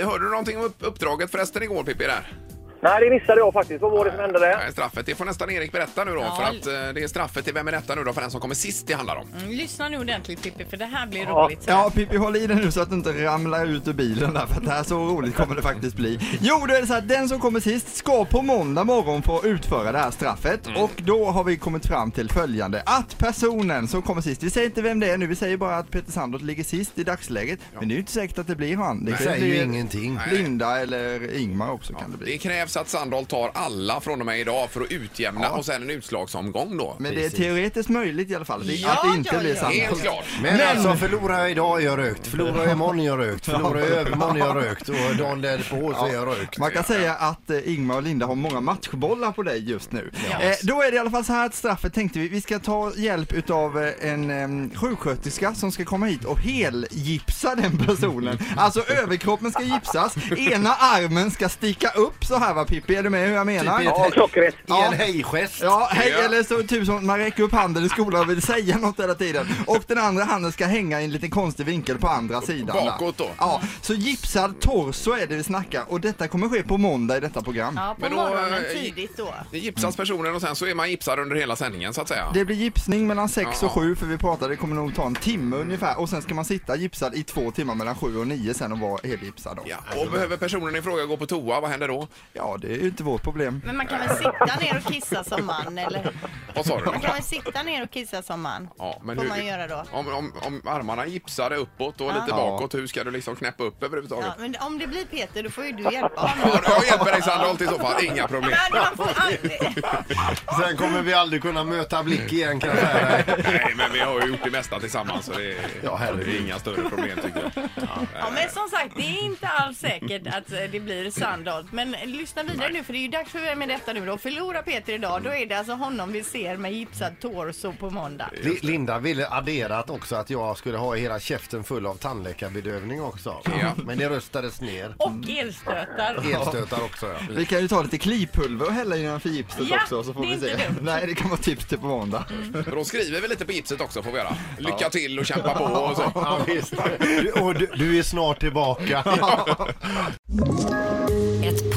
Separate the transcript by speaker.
Speaker 1: Eh, Hörde du någonting om upp- uppdraget förresten igår Pippi? Där?
Speaker 2: Nej, det missade jag faktiskt. Vad var det som hände där?
Speaker 1: Nej, straffet. Det får nästan Erik berätta nu då.
Speaker 3: Ja.
Speaker 1: För att eh, det är straffet till Vem är detta nu då? För den som kommer sist det handlar om.
Speaker 3: Mm, lyssna nu ordentligt Pippi, för det här blir
Speaker 2: Ja.
Speaker 3: roligt.
Speaker 4: Ja, Pippi håll i dig nu så att du inte ramlar ut ur bilen där, för att det här så roligt kommer det faktiskt bli. Jo, då är det så att den som kommer sist ska på måndag morgon få utföra det här straffet och då har vi kommit fram till följande att personen som kommer sist, vi säger inte vem det är nu, vi säger bara att Peter Sandholt ligger sist i dagsläget, men det är ju inte säkert att det blir han. Det
Speaker 5: Det
Speaker 4: kan
Speaker 5: säger
Speaker 4: bli
Speaker 5: ju ingenting.
Speaker 4: Linda eller Ingmar också kan det bli.
Speaker 1: Det krävs att Sandholt tar alla från och med idag för att utjämna och sen en utslagsomgång då.
Speaker 4: Men det är
Speaker 5: Precis.
Speaker 4: teoretiskt möjligt i alla fall,
Speaker 3: Ja,
Speaker 4: att det inte
Speaker 3: ja,
Speaker 4: blir
Speaker 3: ja.
Speaker 1: Helt
Speaker 4: Sandholt.
Speaker 1: klart.
Speaker 5: Men, alltså, förlorar jag idag är jag rökt, förlorar jag imorgon är jag rökt, förlorar jag övermorgon är jag rökt och dagen därpå så är jag rökt.
Speaker 4: Man kan säga att eh, Ingmar och Linda har många matchbollar på dig just nu.
Speaker 3: Ja.
Speaker 4: Eh, då är det i alla fall så här att straffet tänkte vi, vi ska ta hjälp utav eh, en eh, sjuksköterska som ska komma hit och helgipsa den personen. Alltså överkroppen ska gipsas, ena armen ska sticka upp så här va Pippi, är du med hur jag menar?
Speaker 5: Typ i ett
Speaker 2: Ja, klockrent.
Speaker 5: I en hejgest.
Speaker 4: Ja, hej,
Speaker 1: Ja.
Speaker 4: eller så typ som man räcker upp handen i skolan och vill säga något hela tiden. Och den andra handen ska hänga i en liten konstig vinkel på andra sidan. där.
Speaker 1: Bakåt då.
Speaker 4: Ja, så gipsad torso är det vi snackar och detta kommer ske på måndag i detta program.
Speaker 3: Ja, på
Speaker 1: Men då,
Speaker 3: morgonen
Speaker 1: eh,
Speaker 3: tidigt då.
Speaker 1: Det gipsas personen och sen så är man gipsad under hela sändningen så att säga.
Speaker 4: Det blir gipsning mellan 6
Speaker 1: Ja.
Speaker 4: och 7 för vi pratade, det kommer nog ta en timme ungefär och sen ska man sitta gipsad i två timmar mellan 7 och 9 sen och vara helgipsad då.
Speaker 1: Ja. Och behöver personen i fråga gå på toa, vad händer då?
Speaker 4: Ja, det är ju inte vårt problem.
Speaker 3: Men man kan väl sitta ner och kissa som man? Eller?
Speaker 1: Vad sa du?
Speaker 3: Man kan väl sitta ner och kissa som man?
Speaker 1: Ja, men
Speaker 3: Får
Speaker 1: hur,
Speaker 3: man göra då?
Speaker 1: Om, om, om armarna gipsade uppåt och lite
Speaker 4: Ja.
Speaker 1: bakåt, hur ska du liksom knäppa upp
Speaker 3: Ja,
Speaker 1: överhuvudtaget?
Speaker 3: men om det blir Peter, då får ju du hjälpa honom.
Speaker 1: Ja, jag hjälper dig Sandholt i så fall, inga problem.
Speaker 3: Men man får aldrig...
Speaker 5: Sen kommer vi aldrig kunna möta blick igen kan jag säga
Speaker 1: Mm.
Speaker 5: dig.
Speaker 1: Nej, men vi har ju gjort det mesta tillsammans så det är,
Speaker 5: Ja, herregud.
Speaker 1: det är inga större problem tycker jag.
Speaker 3: Ja, men som sagt, det är inte alls säkert att eh, det blir Sandholt. Men lyssna vidare nu, för det är ju dags för Vem är detta nu då? Förlorar Peter idag, då är det alltså honom vi ser med gipsad torso på måndag.
Speaker 5: Li- Linda ville adderat också att jag skulle ha hela käften full av tandläkarbedövning också.
Speaker 1: Ja.
Speaker 5: Men det röstades ner.
Speaker 3: Och elstötar.
Speaker 5: Elstötar också ja.
Speaker 4: Vi kan ju ta lite klipulver och hälla innanför gipset
Speaker 3: Ja,
Speaker 4: också så får
Speaker 3: det är
Speaker 4: vi se.
Speaker 3: inte dumt.
Speaker 4: Nej, det kan vara tips till på måndag.
Speaker 1: Men Då skriver vi lite på gipset också får vi göra. Lycka till och kämpa på och så.
Speaker 5: Ja, visst. Du, och du, du är snart tillbaka.
Speaker 6: Ett